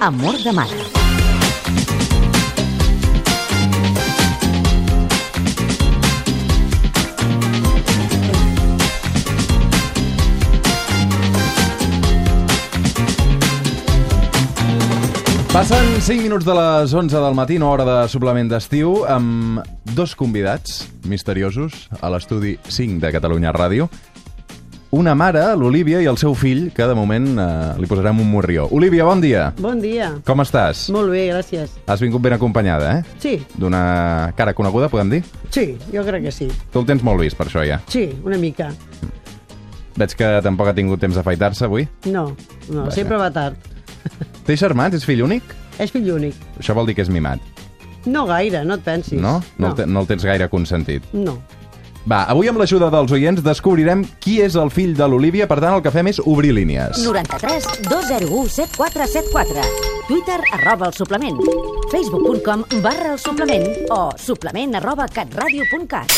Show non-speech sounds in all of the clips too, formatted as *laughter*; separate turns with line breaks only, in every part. Amor de mare.
Passen 5 minuts de les 11 del matí, una hora de suplement d'estiu, amb dos convidats misteriosos a l'estudi 5 de Catalunya Ràdio. Una mare, l'Olivia, i el seu fill, que de moment eh, li posarem un morrió. Olivia, bon dia.
Bon dia.
Com estàs?
Molt bé, gràcies.
Has vingut ben acompanyada, eh?
Sí,
D'una cara coneguda, podem dir?
sí, jo crec que sí.
Tu el tens molt vist, per això, ja.
Sí, una mica.
Veig que tampoc ha tingut temps d'afaitar-se avui.
No, no,
Vaja.
sempre va tard.
Té germans? És fill únic?
És fill únic.
Això vol dir que és mimat,
No gaire, no et pensis.
no? No, el te-
no.
no el tens gaire consentit.
no.
Va, avui amb l'ajuda dels oients descobrirem qui és el fill de l'Olivia, per tant el que fem és obrir línies.
93 201 7474. Twitter arroba el suplement. Facebook.com barra el suplement o suplement arroba catradio.cat.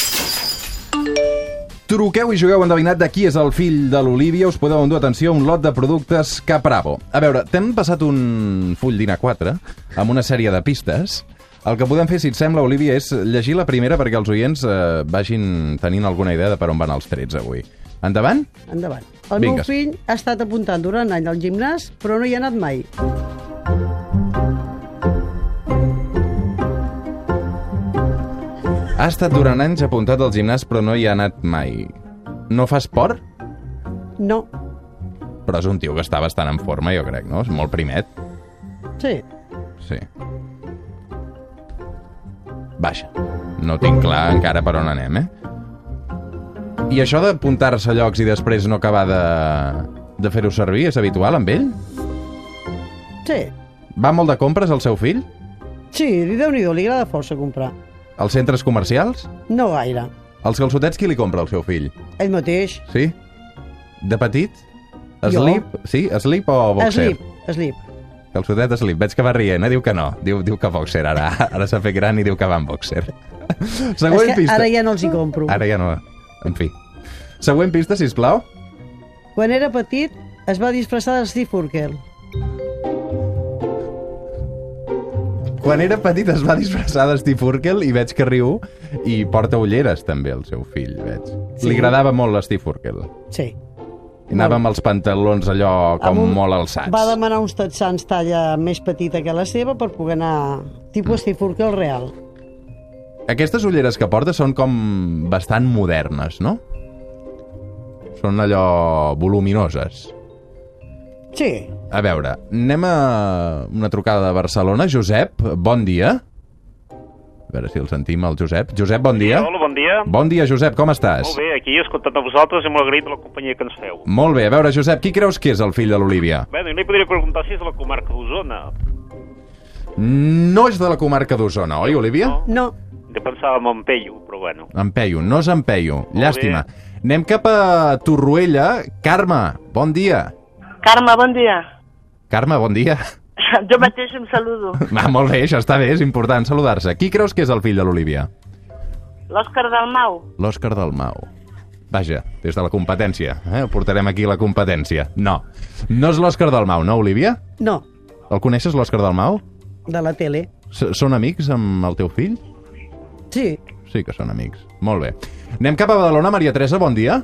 Truqueu i jugueu endevinat de qui és el fill de l'Olivia, us podeu endur atenció a un lot de productes Capravo. A veure, t'hem passat un full d'ina 4 amb una sèrie de pistes. El que podem fer, si et sembla, Olivia, és llegir la primera perquè els oients eh, vagin tenint alguna idea de per on van els trets avui. Endavant?
Endavant. El
Vinga.
meu fill ha estat apuntant durant un any al gimnàs, però no hi ha anat mai.
Ha estat durant anys apuntat al gimnàs però no hi ha anat mai. No fa esport?
No.
Però és un tio que està bastant en forma, jo crec, no? És molt primet.
Sí.
Sí. Baixa. No tinc clar encara per on anem, eh? I això d'apuntar-se a llocs i després no acabar de, de fer-ho servir és habitual amb ell?
Sí.
Va molt de compres el seu fill?
Sí, li déu nhi li agrada força comprar.
Als centres comercials?
No gaire.
Els calçotets qui li compra el seu fill?
Ell mateix.
Sí? De petit?
Jo.
Slip? Sí? Slip o boxer?
Slip, slip.
Calçotet slip. Veig que va rient, eh? Diu que no. Diu, diu que boxer. Ara, ara s'ha fet gran i diu que va en boxer. Següent
És que
pista.
ara ja no els hi compro.
Ara ja no. En fi. Següent pista, si plau.
Quan era petit, es va disfressar de Steve Urkel.
Quan era petit es va disfressar de Steve Urkel i veig que riu i porta ulleres també el seu fill, veig. Sí.
Sí.
Li agradava molt l'Steve Urkel.
Sí.
I anava amb els pantalons allò com
Amb un-
molt alçats.
Va demanar uns texans talla més petita que la seva per poder anar tipus Steve Urkel real.
Aquestes ulleres que porta són com bastant modernes, no? Són allò voluminoses.
Sí.
A veure, anem a una trucada de Barcelona. Josep, bon dia. A veure si el sentim, el Josep. Josep, bon dia.
Hola, bon dia.
Bon dia, Josep, com estàs?
Molt bé, aquí he escoltat a vosaltres i molt agraït de la companyia que ens feu.
Molt bé, a veure, Josep, qui creus que és el fill de l'Olivia?
Bé, doncs, jo li podria preguntar si és de la comarca d'Osona.
No és de la comarca d'Osona, oi, Olivia?
No.
No,
Jo pensava en Montpello, però bueno.
En Peyu, no és en Peyu.
bé.
Llàstima. Anem cap a Torroella. Carme, bon dia.
Carme, bon dia. *laughs*
Carme, bon dia. *laughs*
Jo mateix em saludo.
Va, molt bé, això està bé, és important saludar-se. Qui creus que és el fill de l'Olivia?
L'Òscar Dalmau.
L'Òscar Dalmau. Vaja, des de la competència. Eh? Ho portarem aquí la competència. No, no és l'Òscar Dalmau, no, Olivia?
no,
El coneixes, l'Òscar Dalmau?
de la tele.
S Són amics amb el teu fill?
Sí,
Sí que són amics. Molt bé. Anem cap a Badalona. Maria Teresa, bon dia.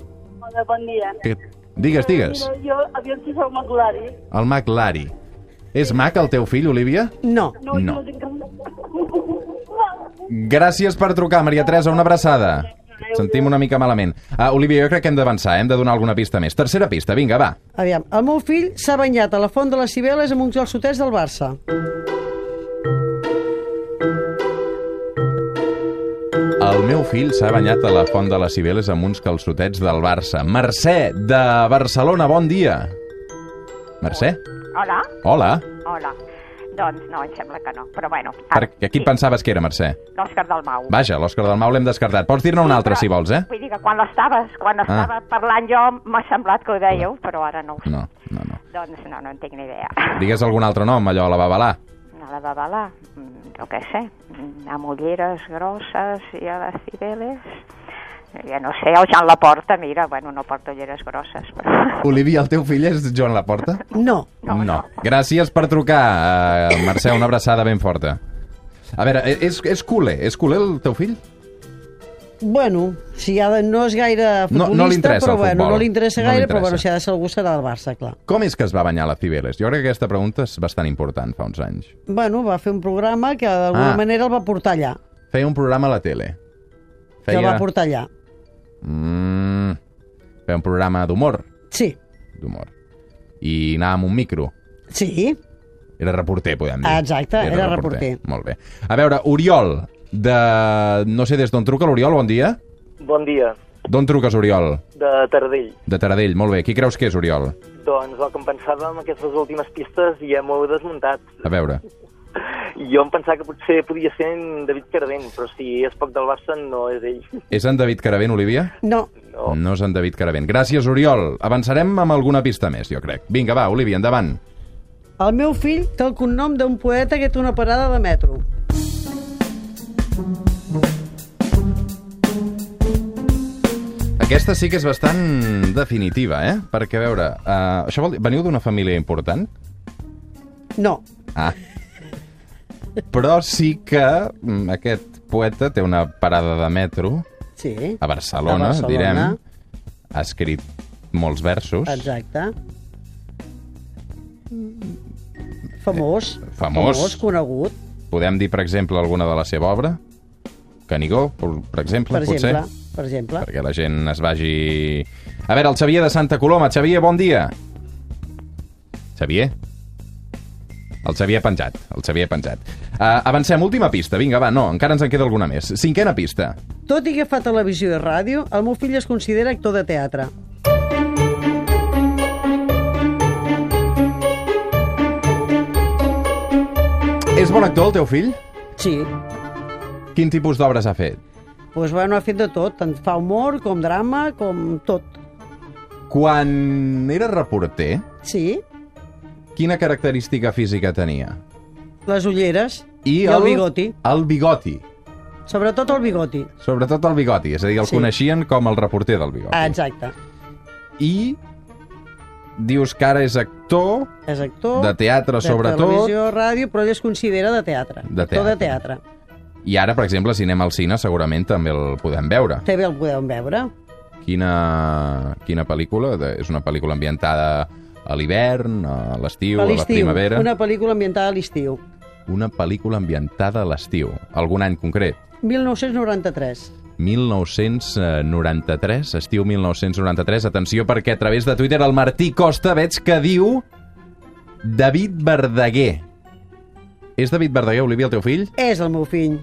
Hola, bon dia.
Que... Digues, digues.
Mira, jo, aviam si sou maculari.
El Mac Lari. És Mac el teu fill, Olivia?
no.
No, jo
No.
no tinc cap...
Gràcies per trucar, Maria Teresa. Una abraçada. Et Sentim una mica malament. Uh, Olivia, jo crec que hem d'avançar. Hem de donar alguna pista més. Tercera pista, vinga, va.
Aviam, el meu fill s'ha banyat a la font de les Cibeles amb uns calçotets del Barça.
El meu fill s'ha banyat a la font de les Cibeles amb uns calçotets del Barça. Mercè, de Barcelona, bon dia. Mercè?
Hola,
Hola.
hola. Doncs no, em sembla que no, però bueno.
Ah,
Per... A qui et pensaves que era, Mercè?
L'Òscar Dalmau.
Vaja, l'Òscar Dalmau l'hem descartat. Pots dir-ne un altre, si vols, eh?
Vull dir que quan l'estaves, quan estava parlant jo, m'ha semblat que ho dèieu, però ara Ah. no ho sé.
No, no, no.
Doncs no, no en tinc ni idea.
Digues algun altre nom, allò, a la Babalà.
A la Babalà, mm, jo què sé, mm, amb ulleres grosses i a les Cibeles, ja no sé, el Joan Laporta, mira, bueno, no porta ulleres grosses, però...
Olivia, el teu fill és Joan Laporta?
No.
No, no.
Gràcies per trucar, eh, Mercè, una abraçada ben forta. A veure, eh, és, és culer, és culer el teu fill?
Bueno, si ha de, no és gaire
No- no
futbolista,
li interessa
però
el
bueno,
futbol.
no li interessa
No
gaire,
li
però bueno,
interessa.
si ha de ser algú serà del Barça, clar.
Com és que es va banyar la Cibeles? Jo crec que aquesta pregunta és bastant important fa uns anys.
Bueno, va fer un programa que d'alguna
Ah.
ah. manera el va portar allà.
Feia un programa a la tele.
Feia... Que el va portar allà.
Mm, feia un programa d'humor.
Sí,
D'humor. I anava amb un micro.
sí.
Era reporter, podem dir.
Ah, exacte, era reporter.
Molt bé. A veure, Oriol, de... no sé des d'on truca l'Oriol, bon dia.
Bon dia,
D'on truques, Oriol?
de Tardell.
De Taradell, molt bé. Qui creus que és, Oriol?
Doncs el que em pensava amb aquestes últimes pistes ja m'ho heu desmuntat.
A veure.
Jo em pensava que potser podia ser en David Cardent, però si és poc del Barça no és ell.
És en David Caravent, Olivia?
No,
No.
No és en David Caravent. Gràcies, Oriol. Avançarem amb alguna pista més, jo crec. Vinga, va, Olivia, endavant.
el meu fill té el cognom d'un poeta que té una parada de metro.
Aquesta sí que és bastant definitiva, eh? Perquè, a veure, uh, això vol dir... Veniu d'una família important?
No,
Ah. Però sí que mm, aquest poeta té una parada de metro
sí,
a Barcelona,
A Barcelona.
direm. Ha escrit molts versos.
exacte. Famós.
famós.
Famós, conegut,
Podem dir, per exemple, alguna de la seva obra? Canigó, per, per exemple,
per
potser?
exemple. Per exemple.
perquè la gent es vagi... A veure, el Xavier de Santa Coloma. Xavier, bon dia. Xavier? El Xavier penjat, el Xavier penjat. Uh, avancem, última pista, vinga, va, no, encara ens en queda alguna més. Cinquena pista.
Tot i que fa televisió i ràdio, el meu fill es considera actor de teatre.
És bon actor, el teu fill?
Sí,
Quin tipus d'obres ha fet?
pues, bueno, ha fet de tot, tant fa humor com drama, com tot.
Quan era reporter,
Sí,
quina característica física tenia?
les ulleres i, el... bigoti,
El bigoti,
sobretot el bigoti.
sobretot el bigoti, és a dir, el
Sí.
coneixien com el reporter del bigoti.
Ah, exacte.
I dius que ara és actor,
És actor,
De teatre,
de
sobretot.
televisió, ràdio, però ell es considera de teatre.
De
Actor de
teatre.
teatre.
I ara, per exemple, si anem al cine, segurament també el podem veure.
També el podem veure.
Quina, quina pel·lícula? De- És una pel·lícula ambientada a l'hivern, a l'estiu,
A
a la
l'estiu,
primavera.
una pel·lícula ambientada a l'estiu.
una pel·lícula ambientada a l'estiu, algun any concret.
1993.
1993, eh, estiu 1993. Atenció, perquè a través de Twitter el Martí Costa veig que diu David Verdaguer. És David Verdaguer, Olivia, el teu fill?
És el meu fill.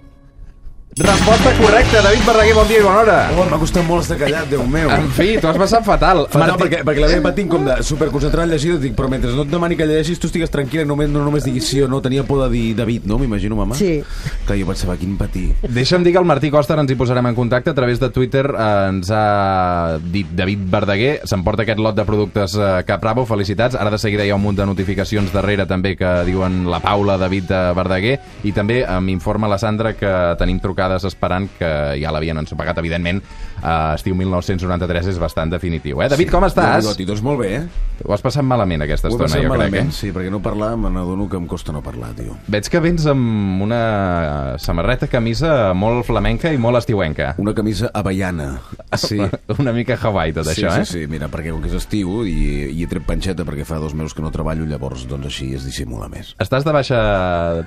Resposta correcta, David Verdaguer, bon dia i bona hora.
Oh, m'ha costat molt estar callat, Déu meu.
En fi, t'ho has passat fatal.
Fatal, perquè, perquè la meva part tinc com de superconcentrat llegint, dic, però mentre no et demani que llegeixis, tu estigues tranquil·la i només, no només diguis sí o no. Tenia por de dir David, no? M'imagino, mama.
Sí.
Clar, jo pensava, quin patí.
Deixa'm dir que el Martí Costa ara ens hi posarem en contacte. A través de Twitter eh, ens ha dit David Verdaguer, s'emporta aquest lot de productes eh, Capravo, felicitats. Ara de seguida hi ha un munt de notificacions darrere també que diuen la Paula David eh, Verdaguer i també eh, m'informa la Sandra que tenim trucades esperant que ja l'havien ensopegat, evidentment. Eh, estiu 1993 és bastant definitiu. Eh? David, sí, com estàs?
Bigoti, doncs molt bé, eh?
Ho has passat malament aquesta
Ho he
estona,
passat
jo
malament,
crec. Eh?
sí, perquè no parlar, me n'adono que em costa no parlar, tio.
Veig que vens amb una samarreta, camisa molt flamenca i molt estiuenca.
Una camisa avellana. Sí.
Una mica Hawaii, *laughs* tot
sí,
això,
sí,
eh?
sí, mira, perquè com que és estiu i, i he tret panxeta perquè fa dos mesos que no treballo, llavors doncs així es dissimula més.
Estàs de baixa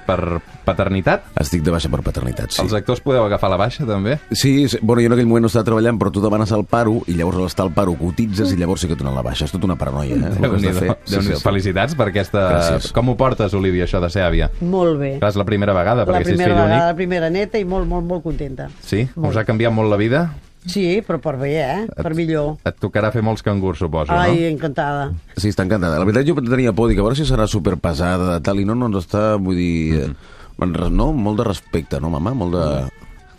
per paternitat?
Estic de baixa per paternitat, sí.
Els actors podeu agafar la baixa, també?
Sí, sí, bueno, jo en aquell moment no estava treballant, però tu demanes el paro i llavors a l'estar al paro cotitzes i llavors sí que et donen la baixa. És tota una paranoia, eh? el que has de
Déu-n'hi-do.
fer. Sí,
Déu-n'hi-do.
sí, sí.
Felicitats per aquesta...
Gràcies.
Com ho portes, Olivia, això de ser àvia?
Molt bé.
Clar, és la primera vegada,
La
perquè si és
primera
fill
vegada, la
únic...
primera neta i molt, molt, molt contenta.
Sí?
Molt.
Us ha canviat molt la vida?
Sí, però per bé, eh? Per millor.
Et tocarà fer molts cangurs, suposo,
Ai,
no?
encantada.
Sí, està encantada. La veritat jo tenia por, dic, a veure si serà superpesada de tal, i no, no ens està, vull dir... Mm
Mm-hmm.
-hmm. No, molt de respecte, no, mama? Molt de...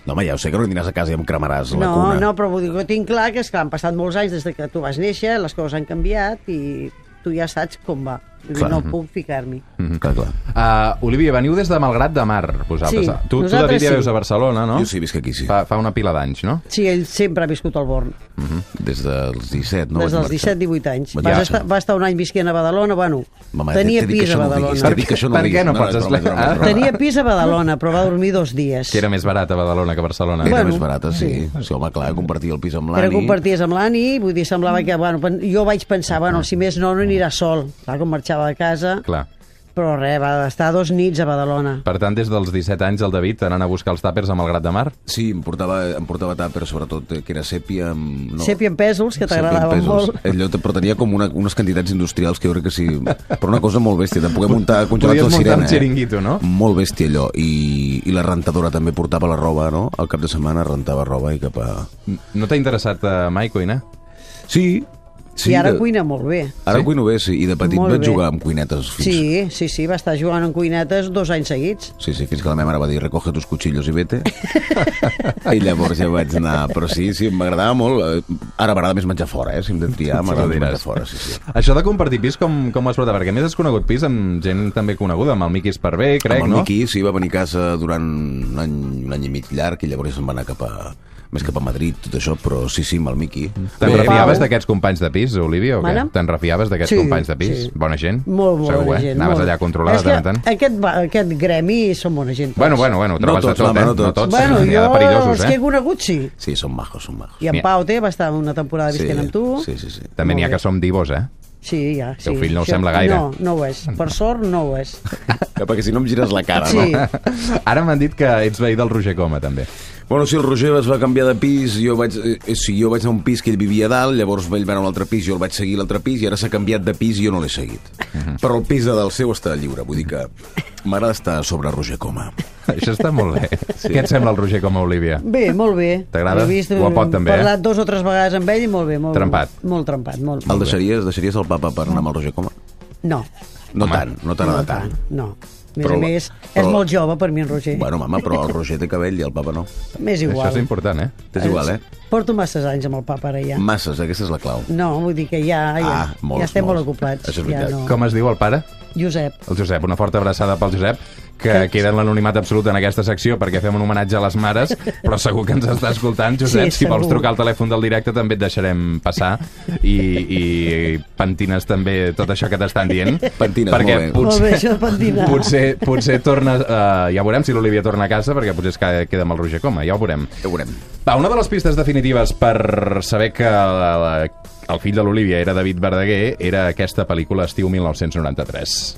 No, home, ja ho sé, que no dinars a casa i em cremaràs la
No,
cuna.
no, però vull dir que tinc clar que, esclar, han passat molts anys des de que tu vas néixer, les coses han canviat i tu ja saps com va. Vull dir,
Clar.
no puc ficar-m'hi.
Mm-hmm.
Mm, clar, clar.
Uh, Olivia, veniu des de Malgrat de Mar, vosaltres.
Sí,
tu, tu, David,
nosaltres
ja
sí.
veus a Barcelona, no?
Jo sí, visc aquí, sí.
Fa, fa una pila d'anys, no?
Sí, ell sempre ha viscut al Born,
Mm-hmm. Des dels 17, no?
no des dels
vaig marxar.
17-18 anys.
Vaig
Va,
marxar.
estar, va estar un any visquent a Badalona, bueno,
Mama,
tenia
t'he dit que
pis
això
a
no ho diguis,
Badalona.
T'he dit que això no
Per
ho
què
diguis.
no pots
és broma, és broma, és
explicar?
broma.
Tenia pis a Badalona, però va dormir dos dies.
Que era més barat a Badalona que a Barcelona. eh?
Era
Bueno,
més barata, sí. sí. home, clar, compartir el pis amb l'Ani...
Era comparties amb l'Ani, vull dir, semblava que, bueno, pen- jo vaig pensar, bueno, si més no, no anirà sol, clar, com marxava de casa,
Clar.
però res, va estar dos nits a Badalona.
Per tant, des dels 17 anys, el David anant a buscar els tàpers a Malgrat de Mar.
Sí, em portava, em portava tàper, sobretot, eh, que era sèpia amb...
No. Sèpia en pèsols, que
sèpia amb
t'agradaven
pesos.
molt.
Allò te- però tenia com una, unes quantitats industrials que jo crec que sí... Però una cosa molt bèstia, de poder muntar congelats
Podies muntar
la sirena. eh?
un xiringuito, no?
Molt bèstia allò. I, I la rentadora també portava la roba, no? Al cap de setmana rentava roba i cap a...
No t'ha interessat eh, mai cuinar?
Sí,
Sí,
sí.
I ara
de-
cuina molt bé.
Ara sí? cuino bé, sí. I de petit
Molt
vaig
bé.
jugar amb cuinetes fins...
Sí, sí, sí, va estar jugant en cuinetes dos anys seguits.
Sí, sí, fins que la meva mare va dir recoge tus cuchillos i vete. *laughs* I llavors ja vaig anar. Però sí, sí, m'agradava molt. Eh, Ara m'agrada més menjar fora, eh? Si hem de triar, m'agrada més
diràs.
menjar fora, sí, sí.
Això de compartir pis, com, com ho has portat? Perquè a més has conegut pis amb gent també coneguda, amb el Miqui Esparvé, crec,
Amb el
no?
Miqui, sí, va venir a casa durant un any, un any i mig llarg i llavors se'n va anar cap a, més cap a Madrid, tot això, però sí, sí, amb el Miqui.
Te'n
Bé,
refiaves
Pau.
d'aquests companys de pis, Olivia, o què?
Mana?
Te'n refiaves d'aquests
Sí,
companys de pis?
sí.
Bona gent?
Molt bona
Segur, eh?
gent.
Anaves
molt.
allà a controlar
És
de tant en
que eh,
tant?
Aquest, va- aquest gremi són bona gent. tots.
Bueno, bueno, bueno,
No
trobes
tots,
de tot,
home,
eh?
no tots.
bueno
N'hi ha de
jo els
perillosos,
que he
eh?
conegut sí.
Sí, són majos, són majos.
I en
Mira.
Pau té va estar una temporada
sí,
visquent amb tu.
Sí, sí, sí.
També n'hi ha
Molt bé.
que som divos,
*laughs*
eh?
Sí, ja. Sí.
Teu fill no ho
Això-
sembla gaire.
No, no ho és. Per sort, no ho és.
Ja, perquè si no em gires la cara,
Sí.
no?
Ara m'han dit que ets veí del Roger Coma, també.
Bueno, sí, el Roger es va canviar de pis, jo vaig, eh, sí, jo vaig anar a un pis que ell vivia a dalt, llavors ell va anar a un altre pis, jo el vaig seguir a l'altre pis, i ara s'ha canviat de pis i jo no l'he seguit. Però el pis de dalt seu està lliure, vull dir que m'agrada estar a sobre Roger Coma.
Això està molt bé. Sí. Què et sembla el Roger Coma, Olivia?
Bé, molt bé.
T'agrada?
He vist,
Guapot, també, eh?
He parlat dos o tres vegades amb ell i molt bé. Molt,
Trempat.
Molt trempat, molt.
El deixaries, deixaries el papa per anar amb el Roger Coma?
No.
No tant, no t'agrada tant.
No. A més
Però
però, a
la-
més, és
però-
molt jove per mi, en Roger.
Bueno, mama, però el Roger té cabell i el papa no.
M'és igual.
Això és important, eh?
T'és igual, eh?
Porto masses anys amb el papa ara ja.
Masses, aquesta és la clau.
No, vull dir que ja, ja,
Ah, molts,
ja estem
molts.
molt ocupats.
Això
ja
és veritat.
no.
Com es diu el pare?
Josep.
El Josep, una forta abraçada pel Josep, que queda en l'anonimat absolut en aquesta secció perquè fem un homenatge a les mares, però segur que ens està escoltant, Josep.
Sí,
si vols
segur.
trucar al telèfon del directe també et deixarem passar i, i pentines també tot això que t'estan dient.
Pentines,
perquè
molt bé.
Molt bé,
Potser,
això de pentinar.
potser, potser torna... Eh, ja veurem si l'Olivia torna a casa perquè potser es queda- queda amb el Roger Coma, ja ho veurem.
Ja ho veurem.
Va, una de les pistes definitives per saber que la, la, el fill de l'Olivia era David Verdaguer era aquesta pel·lícula Estiu 1993.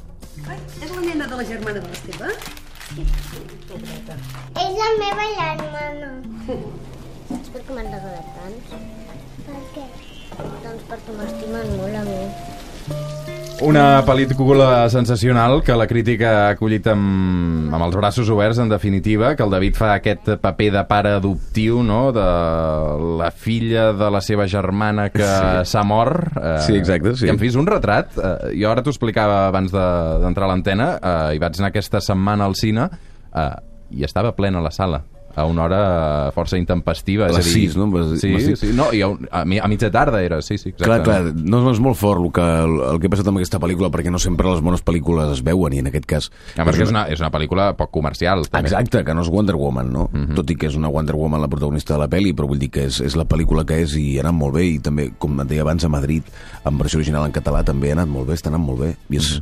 És la nena de la germana de l'Esteve?
És la meva germana. Saps per què m'han regalat tants? Per què? Doncs perquè m'estimen molt a mi.
Una pel·lícula sensacional que la crítica ha acollit amb, amb els braços oberts, en definitiva, que el David fa aquest paper de pare adoptiu, no?, de la filla de la seva germana que s'ha mort. Eh,
Sí, exacte, sí.
I en fi, és un retrat. Eh, jo ara t'ho explicava abans de- d'entrar a l'antena, eh, i vaig anar aquesta setmana al cine eh, i estava plena la sala a una hora eh, força intempestiva.
A
és
les
dir-
sis, no? Em vas dir-
Sí,
m'has dit-
sí, no, i a, un- a, mi- a mitja tarda era, sí, sí, exacte.
Clar, clar, no, no és molt fort el que, el que ha passat amb aquesta pel·lícula, perquè no sempre les bones pel·lícules es veuen, i en aquest cas...
Ah, perquè és una, és una pel·lícula poc comercial. També.
Exacte, que no és Wonder Woman, no? Tot i que és una Wonder Woman la protagonista de la pel·li, però vull dir que és, és la pel·lícula que és i ha anat molt bé, i també, com et deia abans, a Madrid, en versió original en català, també ha anat molt bé, està anant molt bé. I és,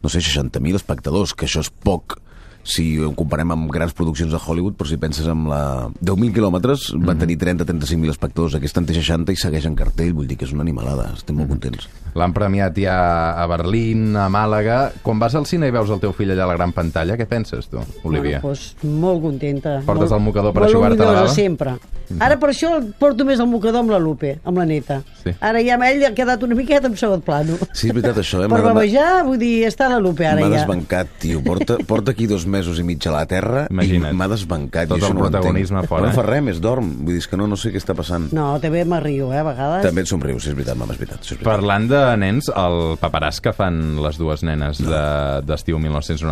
no sé, 60.000 espectadors, que això és poc si ho comparem amb grans produccions de Hollywood, però si penses amb la... 10.000 quilòmetres van tenir 30-35.000 espectadors, aquesta en té 60 i segueix en cartell, vull dir que és una animalada, estem molt contents.
L'han premiat ja a Berlín, a Màlaga... Quan vas al cine i veus el teu fill allà a la gran pantalla, què penses tu, Olivia?
Bueno, doncs molt contenta.
Portes
molt,
el mocador per Mm.
molt
aixugar-te la
orgullosa
bava?
sempre. Ara per això porto més el mocador amb la Lupe, amb la neta.
Sí.
Ara ja amb ell ha quedat una miqueta en segon plano.
Sí, és veritat, això, eh?
per
M'ha-
bavejar, vull dir, està la Lupe ara
M'ha
ja.
desbancat, tio. Porta, porta aquí dos mesos i mig a la Terra
Imagina't.
i m'ha desbancat.
Tot
i això
el
no ho entenc.
protagonisme fora,
No
eh?
fa res, més dorm. Vull dir, és que no, no sé què està passant.
No, també me rio, eh, a vegades.
També et somriu, sí, és veritat, mama, és veritat. Sí, és veritat.
Parlant de nens, el paperàs que fan les dues nenes de- d'estiu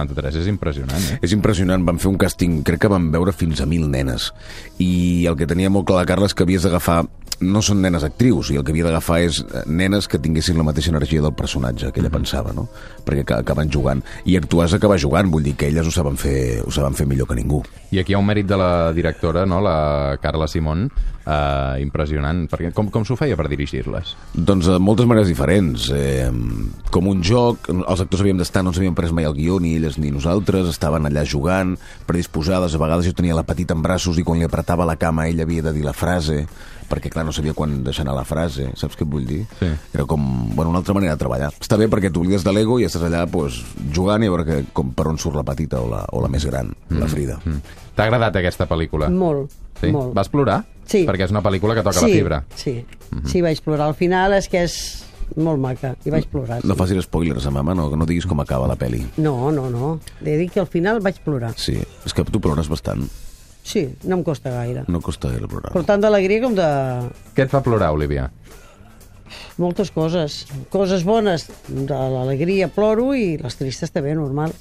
1993 és impressionant, eh?
És impressionant, van fer un càsting, crec que van veure fins a mil nenes. I el que tenia molt clar la Carla és que havies d'agafar no són nenes actrius, i el que havia d'agafar és eh, nenes que tinguessin la mateixa energia del personatge que ella
Mhm.
pensava, no? Perquè ca- acaben jugant. I actuar és acabar jugant, vull dir que elles ho saben fer, ho saben fer millor que ningú.
I aquí hi ha un mèrit de la directora, no? la Carla Simón, eh, impressionant. Perquè com, com s'ho feia per dirigir-les?
Doncs de moltes maneres diferents. Eh, com un joc, els actors havíem d'estar, no ens havíem pres mai el guió, ni elles ni nosaltres, estaven allà jugant, predisposades, a vegades jo tenia la petita en braços i quan li apretava la cama ella havia de dir la frase, perquè clar, no sabia quan deixar anar la frase, saps què et vull dir? Sí. Era com, bueno, una altra manera de treballar. Està bé perquè t'oblides de l'ego i estàs allà pues, jugant i a veure que, com, per on surt la petita o la, o la més gran, mm. la Frida. Mm.
T'ha agradat aquesta pel·lícula?
Molt,
Sí?
molt.
Vas plorar?
Sí.
Perquè és una pel·lícula que toca
sí,
la fibra. Mhm.
Sí, sí, vaig plorar. Al final és que és molt maca i vaig plorar.
No facis spoilers a mama, no, no diguis com acaba la peli.
No, no, no. He dit que al final vaig plorar.
Sí, és que tu plores bastant.
Sí, no em costa gaire.
No costa gaire plorar.
Però tant d'alegria com de
Què et fa plorar, Olivia?
moltes coses. Coses bones, de l'alegria ploro i les tristes també, normal.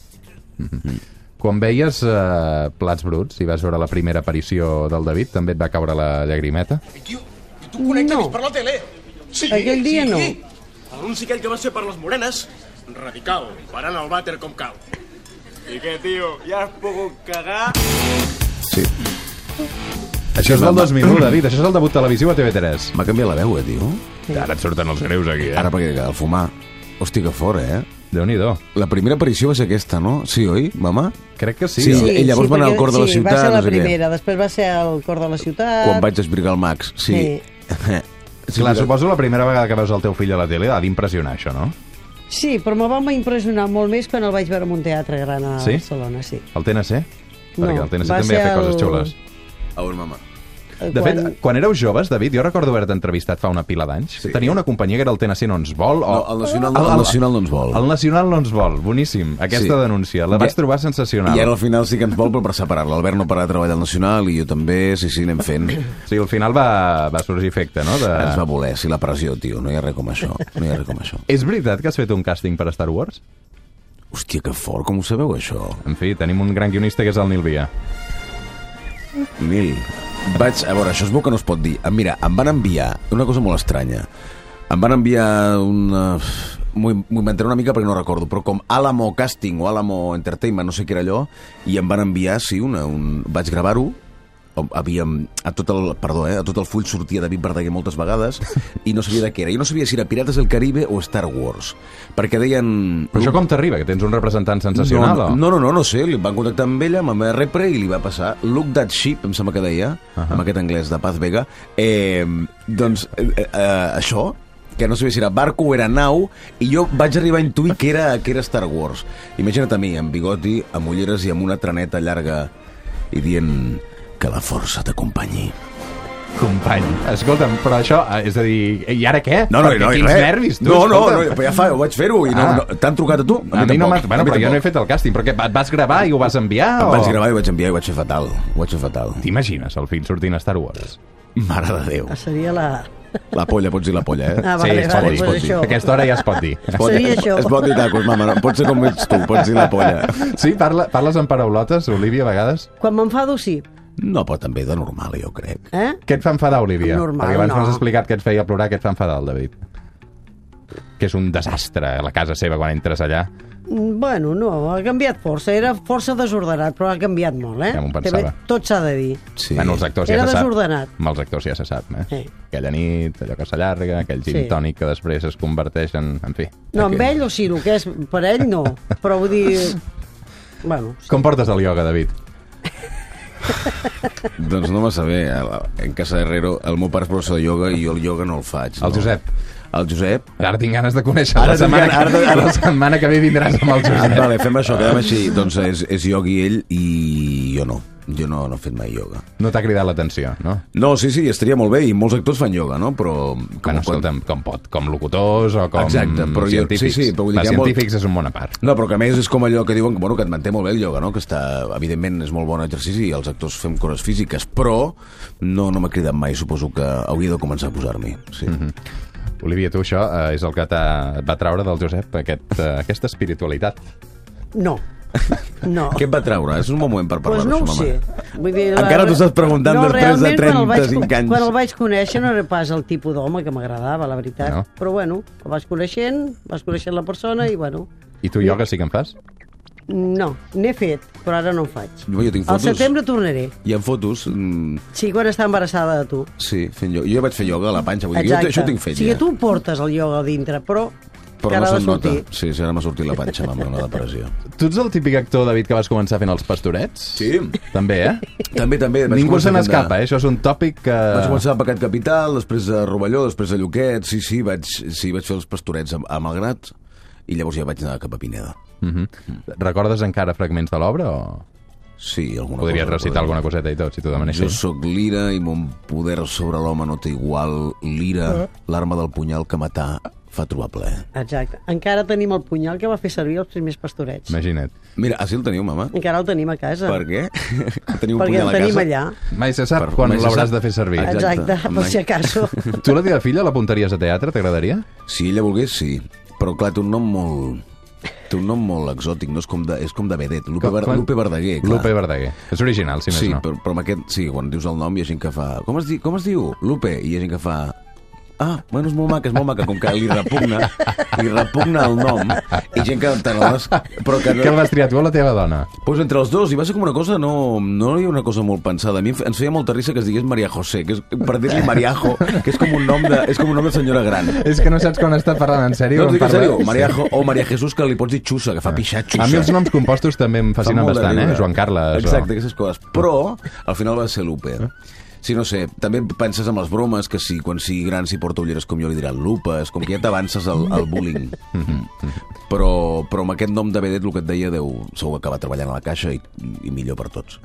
Quan veies eh, Plats Bruts i vas veure la primera aparició del David, també et va caure la llagrimeta?
Tu connecta
No.
no. per la tele? Sí,
Aquell dia
sí.
no.
L'anunci aquell que va ser per les morenes, radical, parant el vàter com cal. I què, tio, ja has pogut cagar?
Sí.
Això és del 2001, David. Això és el debut televisiu a TV3.
M'ha canviat la veu, eh, tio?
Sí. Ara et surten els greus aquí, eh?
Ara perquè el fumar... Hòstia, que fort, eh?
déu nhi
La primera aparició va ser aquesta, no? Sí, oi, mama?
Crec que eh?
Sí, i llavors van anar al
perquè-
cor de la
sí,
ciutat,
va ser la
no sé què.
primera, després va ser al cor de la ciutat...
Quan vaig esbrigar el Max, sí. *laughs* sí.
Sí, Clar, suposo la primera vegada que veus el teu fill a la tele ha d'impressionar això, no?
Sí, però me va impressionar molt més quan el vaig veure en un teatre gran a
Sí?
Barcelona, sí.
El TNC?
No,
Perquè el TNC
va
també
ser
ha fet coses
el-
xules.
A on, mama?
De quan...
eh-
fet, quan éreu joves, David, jo recordo haver-te entrevistat fa una pila d'anys. Sí. Tenia una companyia que era el TNC No ens vol. O...
No, el Nacional- el Nacional no ens vol.
El Nacional no ens vol, boníssim. Aquesta
Sí.
sí. denúncia, la vaig
Ja-
trobar sensacional.
I ara al final sí que ens vol, però per separar L'Albert no pararà de treballar al Nacional i jo també, sí, sí, anem fent.
Sí, al final va, va sorgir efecte, no? De...
Ens va voler, sí, la pressió, tio. No hi ha res com això. No hi ha res com això.
És veritat que has fet un càsting per a Star Wars?
Hòstia, que fort, com ho sabeu, això?
En fi, tenim un gran guionista que és el Nil Via.
Nil, vaig... A veure, això es veu que no es pot dir. Em- Mira, em van enviar una cosa molt estranya. Em van enviar una... M'ho in- m'ho inventaré una mica perquè no recordo, però com Alamo Casting o Alamo Entertainment, no sé què era allò, i em van enviar, sí, una, un... vaig gravar-ho, o- havíem, a tot el, perdó, eh, a tot el full sortia David Verdaguer moltes vegades i no sabia de què era. Jo no sabia si era Pirates del Caribe o Star Wars, perquè deien...
Però això com t'arriba? Que tens un representant sensacional,
no,
o?
no, no, no, no sé, li van contactar amb ella, amb la repre, i li va passar Look That Ship, em sembla que deia, uh -huh. amb aquest anglès de Paz Vega. Eh, doncs, eh, eh, això, que no sabia si era barco o era nau, i jo vaig arribar a intuir que era, que era Star Wars. Imagina't a mi, amb bigoti, amb ulleres i amb una traneta llarga, i dient que la força t'acompanyi.
Company, escolta'm, però això, eh, és a dir, i ara què?
No, no,
Perquè
no, hi
quins
res.
nervis, tu,
No, no,
escolta'm.
no, però ja fa, ho vaig fer-ho, i no- no, t'han trucat a tu? A mi
A mi, no
tampoc,
m'ha...
a
Bueno,
mi
però jo no
tampoc.
he fet el càsting, però què, et vas gravar i ho vas enviar?
Em
o...
vaig gravar i ho vaig enviar i ho vaig fer fatal. Ho vaig fer fatal.
T'imagines el fill sortint a Star Wars?
Mare de Déu.
Seria la...
La polla, pots dir la polla, eh?
Ah, vale,
sí, es pot
vale,
dir.
doncs
es pot dir.
això.
A aquesta hora ja es pot
*laughs*
dir.
Es pot,
Seria
es,
això.
es pot dir tacos, mama, no, pot ser com ets tu, pots dir la polla.
Sí, parla, parles en paraulotes, Olivia, a vegades?
Quan m'enfado, sí.
No, però també de normal, jo crec.
Eh?
Què et fa enfadar, Olivia?
Normal,
Perquè abans
no.
m'has explicat que et feia plorar, què et fa enfadar el David? Que és un desastre, la casa seva, quan entres allà.
Mm, Bueno, no, ha canviat força. Era força desordenat, però ha canviat molt, eh?
Ja m'ho pensava.
També Tot s'ha de dir.
Sí.
Bueno, els actors
Era
ja se sap.
desordenat.
Amb els actors ja se sap, eh?
Sí.
Aquella nit, allò que s'allarga, aquell gin
Sí.
tònic que després es converteix en... En fi.
No, amb ell o sí, el que és per ell, no. Però vull dir...
*laughs*
Bueno,
Com portes el ioga, David?
Doncs no va saber, a la- en casa d'Herrero el meu pare és professor de ioga i jo el ioga no el faig. No?
El Josep.
El Josep.
Ara tinc ganes de conèixer la,
Ara tinc
setmana,
ganes,
que-
ara- ara-
la setmana que ve vindràs
*laughs*
amb el
Ah,
Josep.
vale, fem això, quedem així. Doncs és, és iogui ell i jo no. Jo no, no he fet mai ioga.
No t'ha cridat l'atenció, no?
No, sí, sí, estaria molt bé i molts actors fan ioga, no? Però... Com,
Com, bueno, escolta'm, com pot, com locutors o com
Exacte, però jo-
científics.
sí, sí, però vull dir
la
que hi ha molt-
científics és un món a part.
No, però que a més és com allò que diuen, bueno, que et manté molt bé el ioga, no? que està, evidentment és molt bon exercici i els actors fem coses físiques, però no, no m'ha cridat mai, suposo que hauria de començar a posar-m'hi. Sí. Mm -hmm.
Olivia, tu això eh, és el que t'ha- et va traure del Josep, aquest, eh, aquesta espiritualitat.
no. No.
Què et va traure? És un bon moment per
Doncs
parlar
no ho
d'això,
sé.
mama.
Vull dir,
Encara t'ho estàs preguntant després de
realment, quan el
35
vaig,
anys.
Quan el vaig conèixer no era pas el tipus d'home que m'agradava, la veritat.
No.
No. Però bueno, el vas coneixent, vas coneixent la persona i bueno,
I tu, ioga, sí que en fas?
no, n'he fet, però ara no en faig.
Jo, jo tinc
Al
fotos.
setembre tornaré.
Hi ha fotos... mm,
Sí, quan està embarassada de tu.
Sí, fent ioga. Jo ja vaig fer ioga a la panxa. Vull dir, jo, això ho tinc fet,
O sigui,
ja.
tu ho portes el ioga a dintre, però... que
Però
ara ha
no
de
se'n nota.
sortir.
Sí, sí, ara m'ha sortit la panxa, mama, una depressió.
Tu ets el típic actor, David, que vas començar fent els pastorets?
Sí.
També, eh?
També, també. vaig
Ningú se
començar fent de-
n'escapa, eh? Això és un tòpic que...
Vaig començar a Pecat Capital, després a Rovelló, després a Lloquet, sí, sí, vaig, sí, vaig fer els pastorets a, a Malgrat, i llavors ja vaig anar cap a Pineda.
Mhm. Recordes encara fragments de l'obra o...?
Sí, alguna
Podries
cosa
recitar
podria.
alguna coseta i tot, si t'ho
Jo
demanessis.
sóc l'ira i mon poder sobre l'home no té igual.
Ah.
L'ira, l'arma del punyal que matar, fa trobar ple.
Exacte. Encara tenim el punyal que va fer servir els primers pastorets.
Imagina't.
Mira, així el teniu, mama.
Encara el tenim a casa.
Per
*laughs*
què? Teniu un
Perquè
punyal
el
a
tenim
casa?
allà.
Mai se sap
Per-
quan
mai se
l'hauràs
sap.
de fer servir.
Exacte, per
Mai.
si
*laughs*
acaso.
Tu la teva filla l'apuntaries a teatre, t'agradaria?
Si ella volgués, sí. Però, clar, té un nom molt... Té un nom molt exòtic, no és com de, és com de vedet. Lupe,
Com-
Bar
com-
Lupe Verdaguer, clar.
Lupe Verdaguer. És original, si més
sí,
no.
però, però amb aquest, sí, quan dius el nom hi ha gent que fa... Com es, di, com es diu? Lupe. I hi ha gent que fa... Ah, bueno, és molt maca, és molt maca, com que li repugna, li repugna el nom. I gent que te n'adones... Però que
Què
no...
l'has triat tu o la teva dona?
Pues entre els dos, i va ser com una cosa, no, no hi ha una cosa molt pensada. A mi em fe- ens feia molta risa que es digués Maria José, que és, per dir-li Mariajo, que és com un nom de, és com un nom de senyora gran.
És que no saps quan està parlant en sèrio.
No,
quan
dic en
parla-
sèrio,
Sí.
Maria jo, o Maria Jesús, que li pots dir xussa, que fa pixar xussa.
A mi els noms compostos també em fascinen
Fa molt de
bastant, eh?
riure.
Joan Carles. O...
Exacte, aquestes coses. Però, al final va ser Lupe. Sí, no sé, també penses amb les bromes que si quan sigui gran si porta ulleres com jo li diran lupes, com que ja t'avances al, al bullying. Però, però amb aquest nom de vedet, el que et deia, deu, segur que acaba treballant a la caixa i, i millor per tots.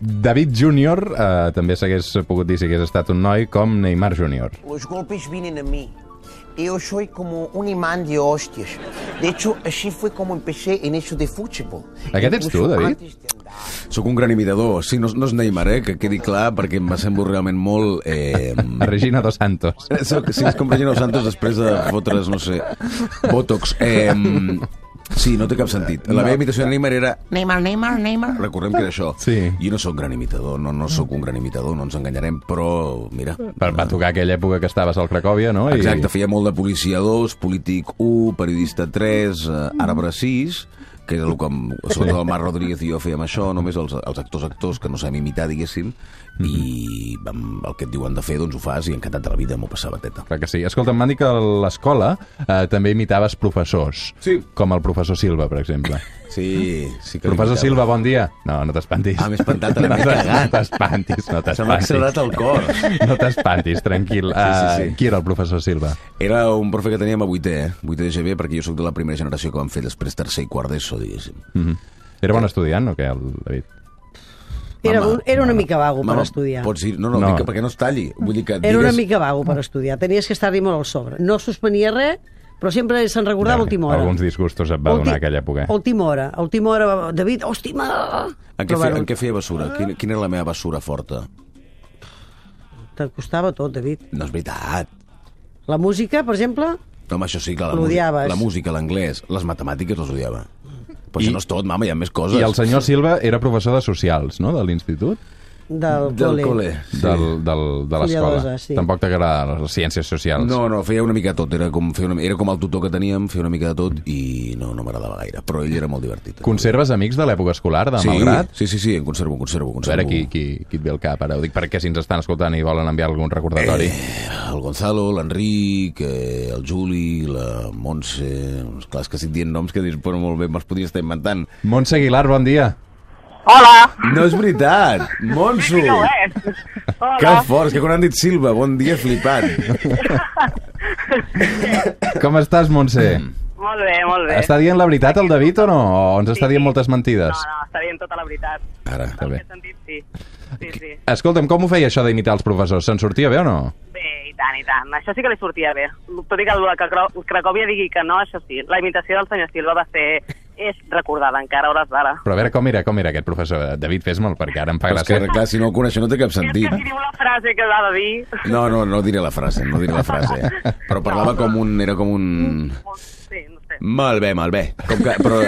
David Júnior eh, també s'hagués pogut dir si hagués estat un noi com Neymar Júnior.
Los golpes vienen a mí. Yo soy como un imán de hostias. De hecho, así fue como empecé en eso de fútbol.
Aquest ets tu,
Incluso
David?
antes de-
Sóc un gran imitador. Sí, no, no és Neymar, eh? que quedi clar, perquè em semblo realment molt... Eh...
Regina Dos Santos.
Soc, sí, és com Regina Dos Santos després de fotre's, no sé, Botox. Eh, sí, no té cap sentit. La
No.
meva imitació de Neymar era
Neymar, Neymar, Neymar.
Recordem que era això. Sí. Jo no sóc gran imitador, no, no sóc un gran imitador, no ens enganyarem, però, mira...
Va, va tocar aquella època que estaves al Cracòvia, no? I-
Exacte, feia molt de policia 2, polític 1, periodista 3, eh, arbre 6, que era el que, em- sobretot el Marc Rodríguez i jo fèiem això, només els, els actors-actors que no sabem imitar, diguéssim, i amb el que et diuen de fer, doncs ho fas, i encantat de la vida m'ho passava teta.
Clar que sí. Escolta, em van dir que a l'escola eh, també imitaves professors. Sí. Com el professor Silva, per exemple.
Sí, sí que
Professor
l'imitava.
Silva, bon dia. No, no t'espantis. Ah,
m'he espantat,
*laughs*
ara
no
m'he
t'es-
cagat.
No t'espantis, no t'espantis.
Se m'ha accelerat el cor.
No t'espantis, tranquil.
Sí, sí, sí.
Eh, qui era el professor Silva?
Era un profe que teníem a 8è, eh? 8è de GB, perquè jo sóc de la primera generació que van fer després tercer i quart d'ESO, diguéssim.
Mm -hmm. Era
Eh.
bon estudiant, o què, el David?
Era, un, era una mica vago
Mama,
per estudiar.
Pots dir... No, no,
No.
no. perquè no es talli. Vull dir que
Era una
digues- Mm.
mica vago per estudiar. Tenies que estar-hi molt al sobre. No suspenia res, però sempre se'n recordava a última hora.
Alguns disgustos et va
Ulti-
donar aquella època. eh.
A última hora. A última hora, va- David, hòstima!
En què,
Però,
feia,
bueno,
en què feia bessura? Quina, quina era la meva bessura forta?
Te costava tot, David.
No és veritat.
La música, per exemple,
No, home, això sí, clar, la,
L'odiaves.
música- la música, l'anglès, les matemàtiques les odiava. Però I... això no és tot, mama, hi ha més coses.
I el senyor Silva era professor de socials, no?, de l'institut?
del, col·le.
Sí.
Del, del, de l'escola.
Fullerosa, sí.
Tampoc t'agrada les ciències socials.
No, no, feia una mica de tot. Era com, feia una, era com el tutor que teníem, feia una mica de tot i no, no m'agradava gaire. Però ell era molt divertit.
Conserves amics de l'època escolar, de
sí,
Malgrat?
Sí, sí, sí, en conservo, en conservo,
A
en conservo.
veure qui, qui, qui et ve al cap, ara. Ho dic perquè si ens estan escoltant i volen enviar algun recordatori.
Eh, el Gonzalo, l'Enric, eh, el Juli, la Montse... Clar, és que estic dient noms que dius, però molt bé, me'ls podria estar inventant.
Montse Aguilar, bon dia.
Hola!
No és veritat! Montse!
No és. Hola!
*laughs* Que forts, que quan han dit Silva, bon dia, flipat.
Com estàs, Montse?
Mm.
Mm,
Molt bé, molt bé.
Està dient la veritat el David o no? O ens està dient moltes mentides?
No, està dient tota la veritat.
Ara, està bé.
Sentit, sí. Sí, sí.
Escolta'm, com ho feia això d'imitar els professors? Se'n sortia bé o no?
Bé, i tant, i tant. Això sí que li sortia bé. Tot i que el que Cro- Cracòvia digui que no, això sí. La imitació del senyor Silva va ser... És recordada encara a hores d'ara.
Però a veure, com era, com era aquest professor? David, fes-me'l, perquè ara em fa
Però és que,
gràcia.
clar, si no el coneixo no té cap sentit.
Diu la frase que va de dir... *laughs*
No, no, no diré la frase, no diré la frase. Però parlava com un... Era com un...
Sí, no sé.
Molt bé, molt bé. Com que, però,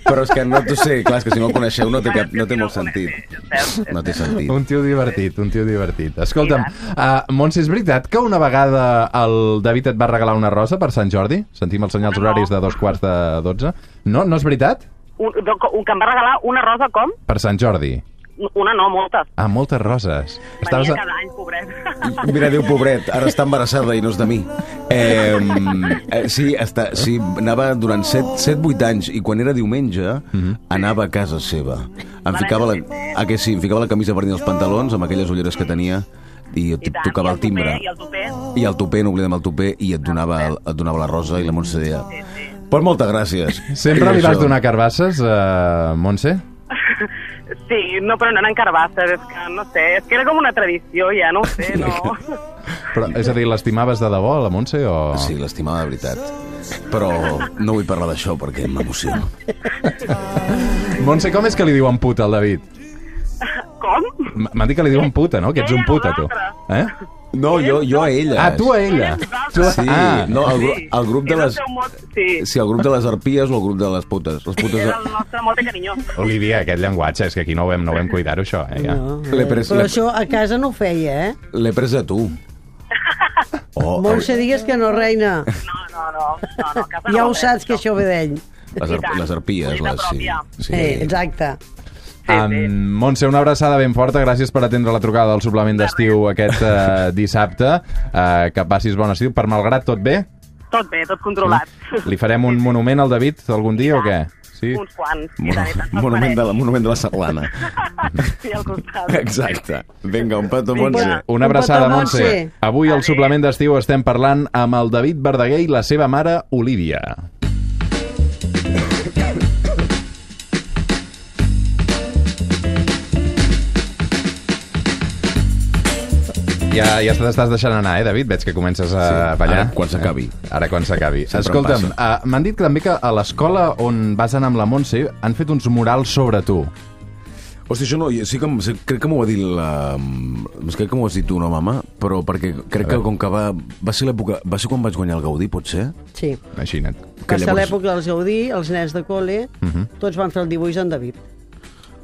però és que no t'ho sé, clar, és que si no el coneixeu no té, cap, no té molt sentit. No té sentit.
Un tio divertit, un tio divertit. Escolta'm, uh, Montse, és veritat que una vegada el David et va regalar una rosa per Sant Jordi? Sentim els senyals horaris de dos quarts de dotze. No, no és veritat?
Un, donc, un que em va regalar una rosa com?
Per Sant Jordi.
Una no, moltes.
Ah, moltes roses.
Venia
a-
cada any, pobret. *laughs*
Mira, diu, pobret, ara està embarassada i no és de mi. Eh, eh, sí, està, sí, anava durant 7-8 anys i quan era diumenge anava a casa seva. Em ficava la, ah, que sí, em ficava la camisa per dins els pantalons amb aquelles ulleres que tenia i, et tocava el timbre.
I el tupé.
I el tupé, no oblidem el tupé, i et donava, el- et donava la rosa i la Montse deia... Pues moltes gràcies.
Sempre
I
li vas
això.
donar carbasses, uh, Montse?
Sí, no, però no eren carbasses, és que no sé, és que era com una tradició, ja, no ho sé, no.
Però, és a dir, l'estimaves de debò, la Montse, o...?
Sí, l'estimava de veritat. Però no vull parlar d'això perquè m'emociono.
Montse, com és que li diuen puta al David?
*laughs* Com?
M- M'han dit que li diuen puta, no? Que ets un puta, tu. Eh?
No, jo, jo a ella.
Ah, tu a ella. Tu a...
Sí,
Ah,
no, el, gru- el grup de
Era
les...
el seu mot, sí.
Sí, el grup de les arpies o el grup de les putes. Les putes...
Era el nostre mote carinyós.
Olivia, aquest llenguatge, és que aquí no ho vam, no ho vam cuidar-ho, això, eh? Ja.
No,
L'he pres,
Però
l'he-
això a casa no ho feia, eh?
l'he pres de tu. Oh,
Montse, digues que no,
*laughs*
reina.
No, no, no, no cap
Ja ho saps que això ve d'ell.
les, arp les arpies, les... Sí, sí.
Eh, exacte.
Um, Montse, una abraçada ben forta. Gràcies per atendre la trucada del suplement d'estiu aquest uh, dissabte. Uh, que passis bon estiu. Per malgrat, tot bé?
Tot bé, tot controlat.
Li farem un monument al David algun dia o què? Sí?
*laughs* Uns quants. i tant, i tant,
Monu- Monument de, la, monument de la serlana.
Sí, al costat.
Exacte. Vinga, un petó,
Vinga.
Montse.
Una abraçada, Montse.
Montse.
Avui al suplement d'estiu estem parlant amb el David Verdaguer i la seva mare, Olivia. Ja, ja t'estàs deixant anar, eh, David? Veig que comences a
Sí,
ballar. Eh,
ara quan s'acabi.
Ara quan s'acabi.
Sempre
Escolta'm,
em
uh, m'han dit que també que a l'escola on vas anar amb la Montse han fet uns murals sobre tu.
Hòstia, això no, jo sí que, em- sí, crec que m'ho va dir la... em- Crec que m'ho has dit tu, no, mama? Però perquè crec que com que va... Va ser l'època... Va ser quan vaig guanyar el Gaudí, potser?
Sí.
Imagina't.
Va ser l'època dels Gaudí, els nens de col·le,
Mhm.
tots van fer el dibuix d'en David.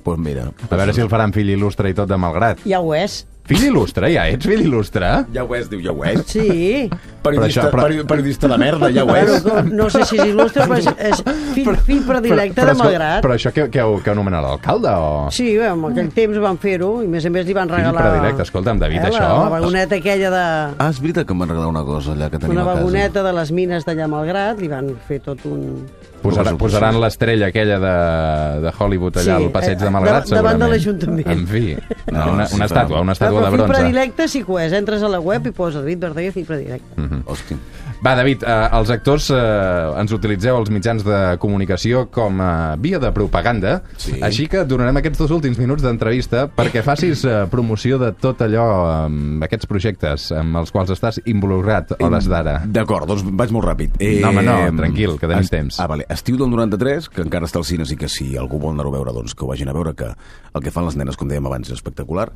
Pues Doncs mira.
A veure si el faran fill il·lustre i tot de malgrat.
Ja ho és.
Fill il·lustre, ja ets fill il·lustre?
Ja ho és, diu, ja ho és.
*laughs*
Sí.
Periodista,
Però això- però-
peri- periodista de merda, ja ho
*laughs*
és.
Bueno, com- no sé si és il·lustre, però és,
*laughs*
és fill, fill predilecte de
escol-
Malgrat.
Però això que, que, ho, que ho nomena l'alcalde o...?
Sí, bé, en aquell temps van fer-ho, i a més a més li van
Fill
regalar...
predilecte, escolta'm, David,
eh,
això-
La, la vagoneta aquella de...
Ah, és veritat que em van regalar una cosa allà que tenim
Una
eh?
a casa.
vagoneta de les mines d'allà a Malgrat, li van fer tot un...
Posarà,
No,
posaran l'estrella aquella de, de Hollywood allà
Sí,
al passeig de
eh,
Malgrat,
davant- davant
segurament.
de l'Ajuntament.
En fi, no,
No,
una,
sí,
una
però-
estàtua, una
Clar,
estàtua de
fill
bronze.
predilecte sí que ho és. Entres a la web i posa David Verdaguer, fill predilecte.
Hòstia.
Va, David, eh, els actors eh, ens utilitzeu els mitjans de comunicació com a via de propaganda,
Sí.
així que et donarem aquests dos últims minuts d'entrevista perquè facis eh, promoció de tot allò, eh, aquests projectes amb els quals estàs involucrat a hores d'ara.
D'acord, doncs vaig molt ràpid. Eh,
No, home, no, tranquil, que tenim temps.
Ah, vale. Estiu del 93, que encara està al cine, i que si algú vol anar-ho a veure, doncs que ho vagin a veure, que el que fan les nenes, com dèiem abans, és espectacular.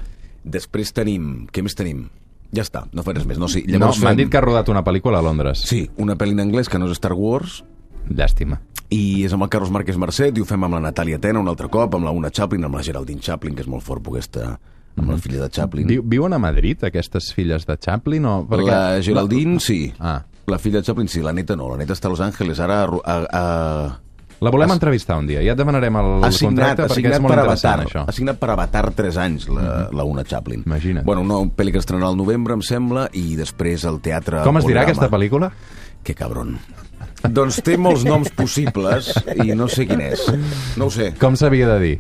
Després tenim... Què més tenim? Ja està, no faré res més. No, sí,
No,
llavors
m'han dit que ha rodat una pel·lícula a Londres.
Sí, una pel·li en anglès que no és Star Wars,
Llàstima.
i és amb el Carlos Márquez Mercet, i ho fem amb la Natàlia Tena un altre cop, amb la Una Chaplin, amb la Geraldine Chaplin, que és molt fort poder estar amb
Mm-hmm.
la filla de Chaplin.
Viu, viuen a Madrid, aquestes filles de Chaplin? O... perquè-
La Geraldine, sí.
Ah.
La filla de Chaplin, sí. La neta no. La neta està a Los Angeles. Ara a, Ru- a, a...
La volem entrevistar un dia. Ja et demanarem el
Assignat,
contracte perquè
assignat,
és molt
per
interessant,
Avatar,
això. Mm-hmm.
assignat per Avatar 3 anys, la, la Una Chaplin.
Imagina't.
Bueno, una pel·li que estrenarà al novembre, em sembla, i després al teatre...
Com es dirà
Poligrama.
aquesta pel·lícula?
Que cabron. doncs té molts noms possibles i no sé quin és. No ho sé.
Com s'havia de dir?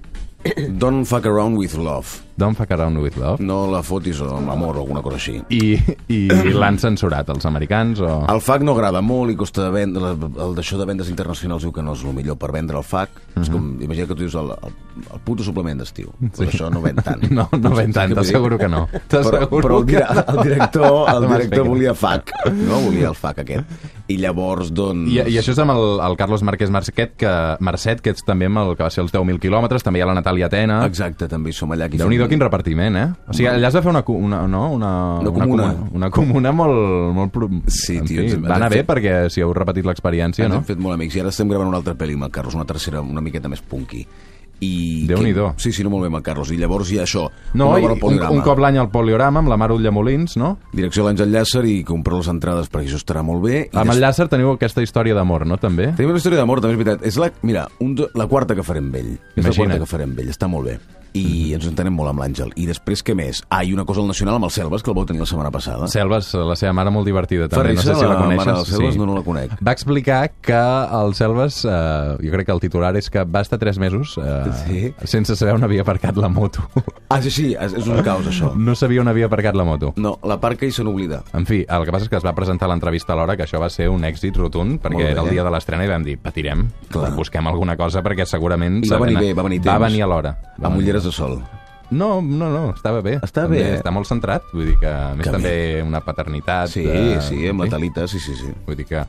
Don't fuck around with love.
Don't fuck around with love.
No la fotis amb amor o alguna cosa així.
I, i l'han censurat, els americans? O...
El FAC no agrada molt i costa de vendre, el d'això de vendes internacionals diu que no és el millor per vendre el FAC. És
Mhm.
com, imagina que tu dius el, el, el puto suplement d'estiu. Sí. Però això no ven tant.
*laughs* No, no
Saps
ven tant,
què vull dir?
t'asseguro que no.
*laughs* Però,
T'asseguro
però el,
que
dir-
no. *laughs*
el director, el
M'has
director
fet.
volia FAC, no volia el FAC aquest. I llavors, doncs...
I, I això és amb el, el Carlos Marquès Marcet, que, Marcet, que ets també amb el que va ser els 10.000 quilòmetres, també hi ha la Natàlia Atena...
Exacte, també som allà.
déu nhi ah. quin repartiment, eh? O sigui, allà es va fer una, co- una, no? una,
Una comuna.
Una, comuna, una comuna molt... molt pro... Sí,
tio,
en
ens
fi,
hem-
va anar
hem
bé
fet-
perquè si heu repetit l'experiència,
Ens
no?
hem fet molt amics i ara estem gravant una altra pel·li amb el Carlos, una tercera una miqueta més punky. I
Déu-n'hi-do.
Sí, sí, no molt bé amb el Carlos. I llavors hi ha això,
No,
una
i
obra al
un,
poligrama.
un cop l'any al Poliorama, amb la Mar Ullamolins, no?
Direcció de l'Àngel Llàcer i comprar les entrades perquè això estarà molt bé. I
Amb el Llàcer teniu aquesta història d'amor, no, també?
Tenim una història d'amor, també és veritat. És la, mira, un, do- la quarta que farem vell. És la
Imagina't. Mhm.
quarta que farem vell, està molt bé. I ens entenem molt amb l'Àngel. I després, què més? Ah, i una cosa al Nacional amb el Selves, que el vau tenir la setmana passada.
Selves, la seva mare molt divertida, també.
Ferrissa,
no sé si la,
la mare
coneixes.
del Selves, no, no la conec.
Va explicar que el Selves, eh, jo crec que el titular és que va estar tres mesos eh, sí. sense saber on havia aparcat la moto. *laughs*
Ah, sí, sí, és és un caos, això.
No sabia on havia aparcat la moto.
No, la parca i se n'oblida.
En fi, el que passa és que es va presentar a l'entrevista a l'hora, que això va ser un èxit rotund,
Molt
perquè
bé.
era el dia de l'estrena i vam dir, patirem, Clar. busquem alguna cosa, perquè segurament...
I va venir
sabent-
bé, va venir
Va
temps.
venir a l'hora. Va
Amb
venir.
ulleres de sol.
No, no, no, estava bé.
Estava
També
bé.
Està molt centrat, vull dir que, a més,
Que
que també una paternitat... eh,
Sí, sí, amb la Talita, sí, sí, sí.
Vull dir que...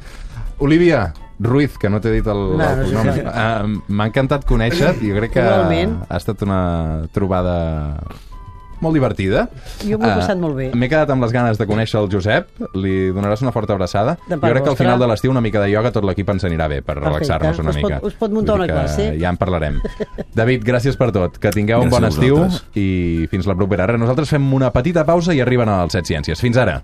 Olivia Ruiz, que no t'he dit el,
No, no
el
sé
cognom.
res.
Eh, M'ha encantat conèixer-te, jo crec que
Igualment.
ha estat una trobada molt divertida.
Jo m'ho he
Eh,
passat molt bé.
M'he quedat amb les ganes de conèixer el Josep, li donaràs una forta abraçada.
De
Jo
part
crec que al
vostra.
final de l'estiu una mica de ioga tot l'equip ens anirà bé per relaxar-nos una
Us pot-
mica.
us pot muntar
Vull dir
una
que
classe.
Ja en
*laughs*
parlarem. David, gràcies per tot. Que tingueu un
Gràcies
bon
a
estiu
vosaltres.
i fins la propera. Res, nosaltres fem una petita pausa i arriben als Set Ciències. Fins ara.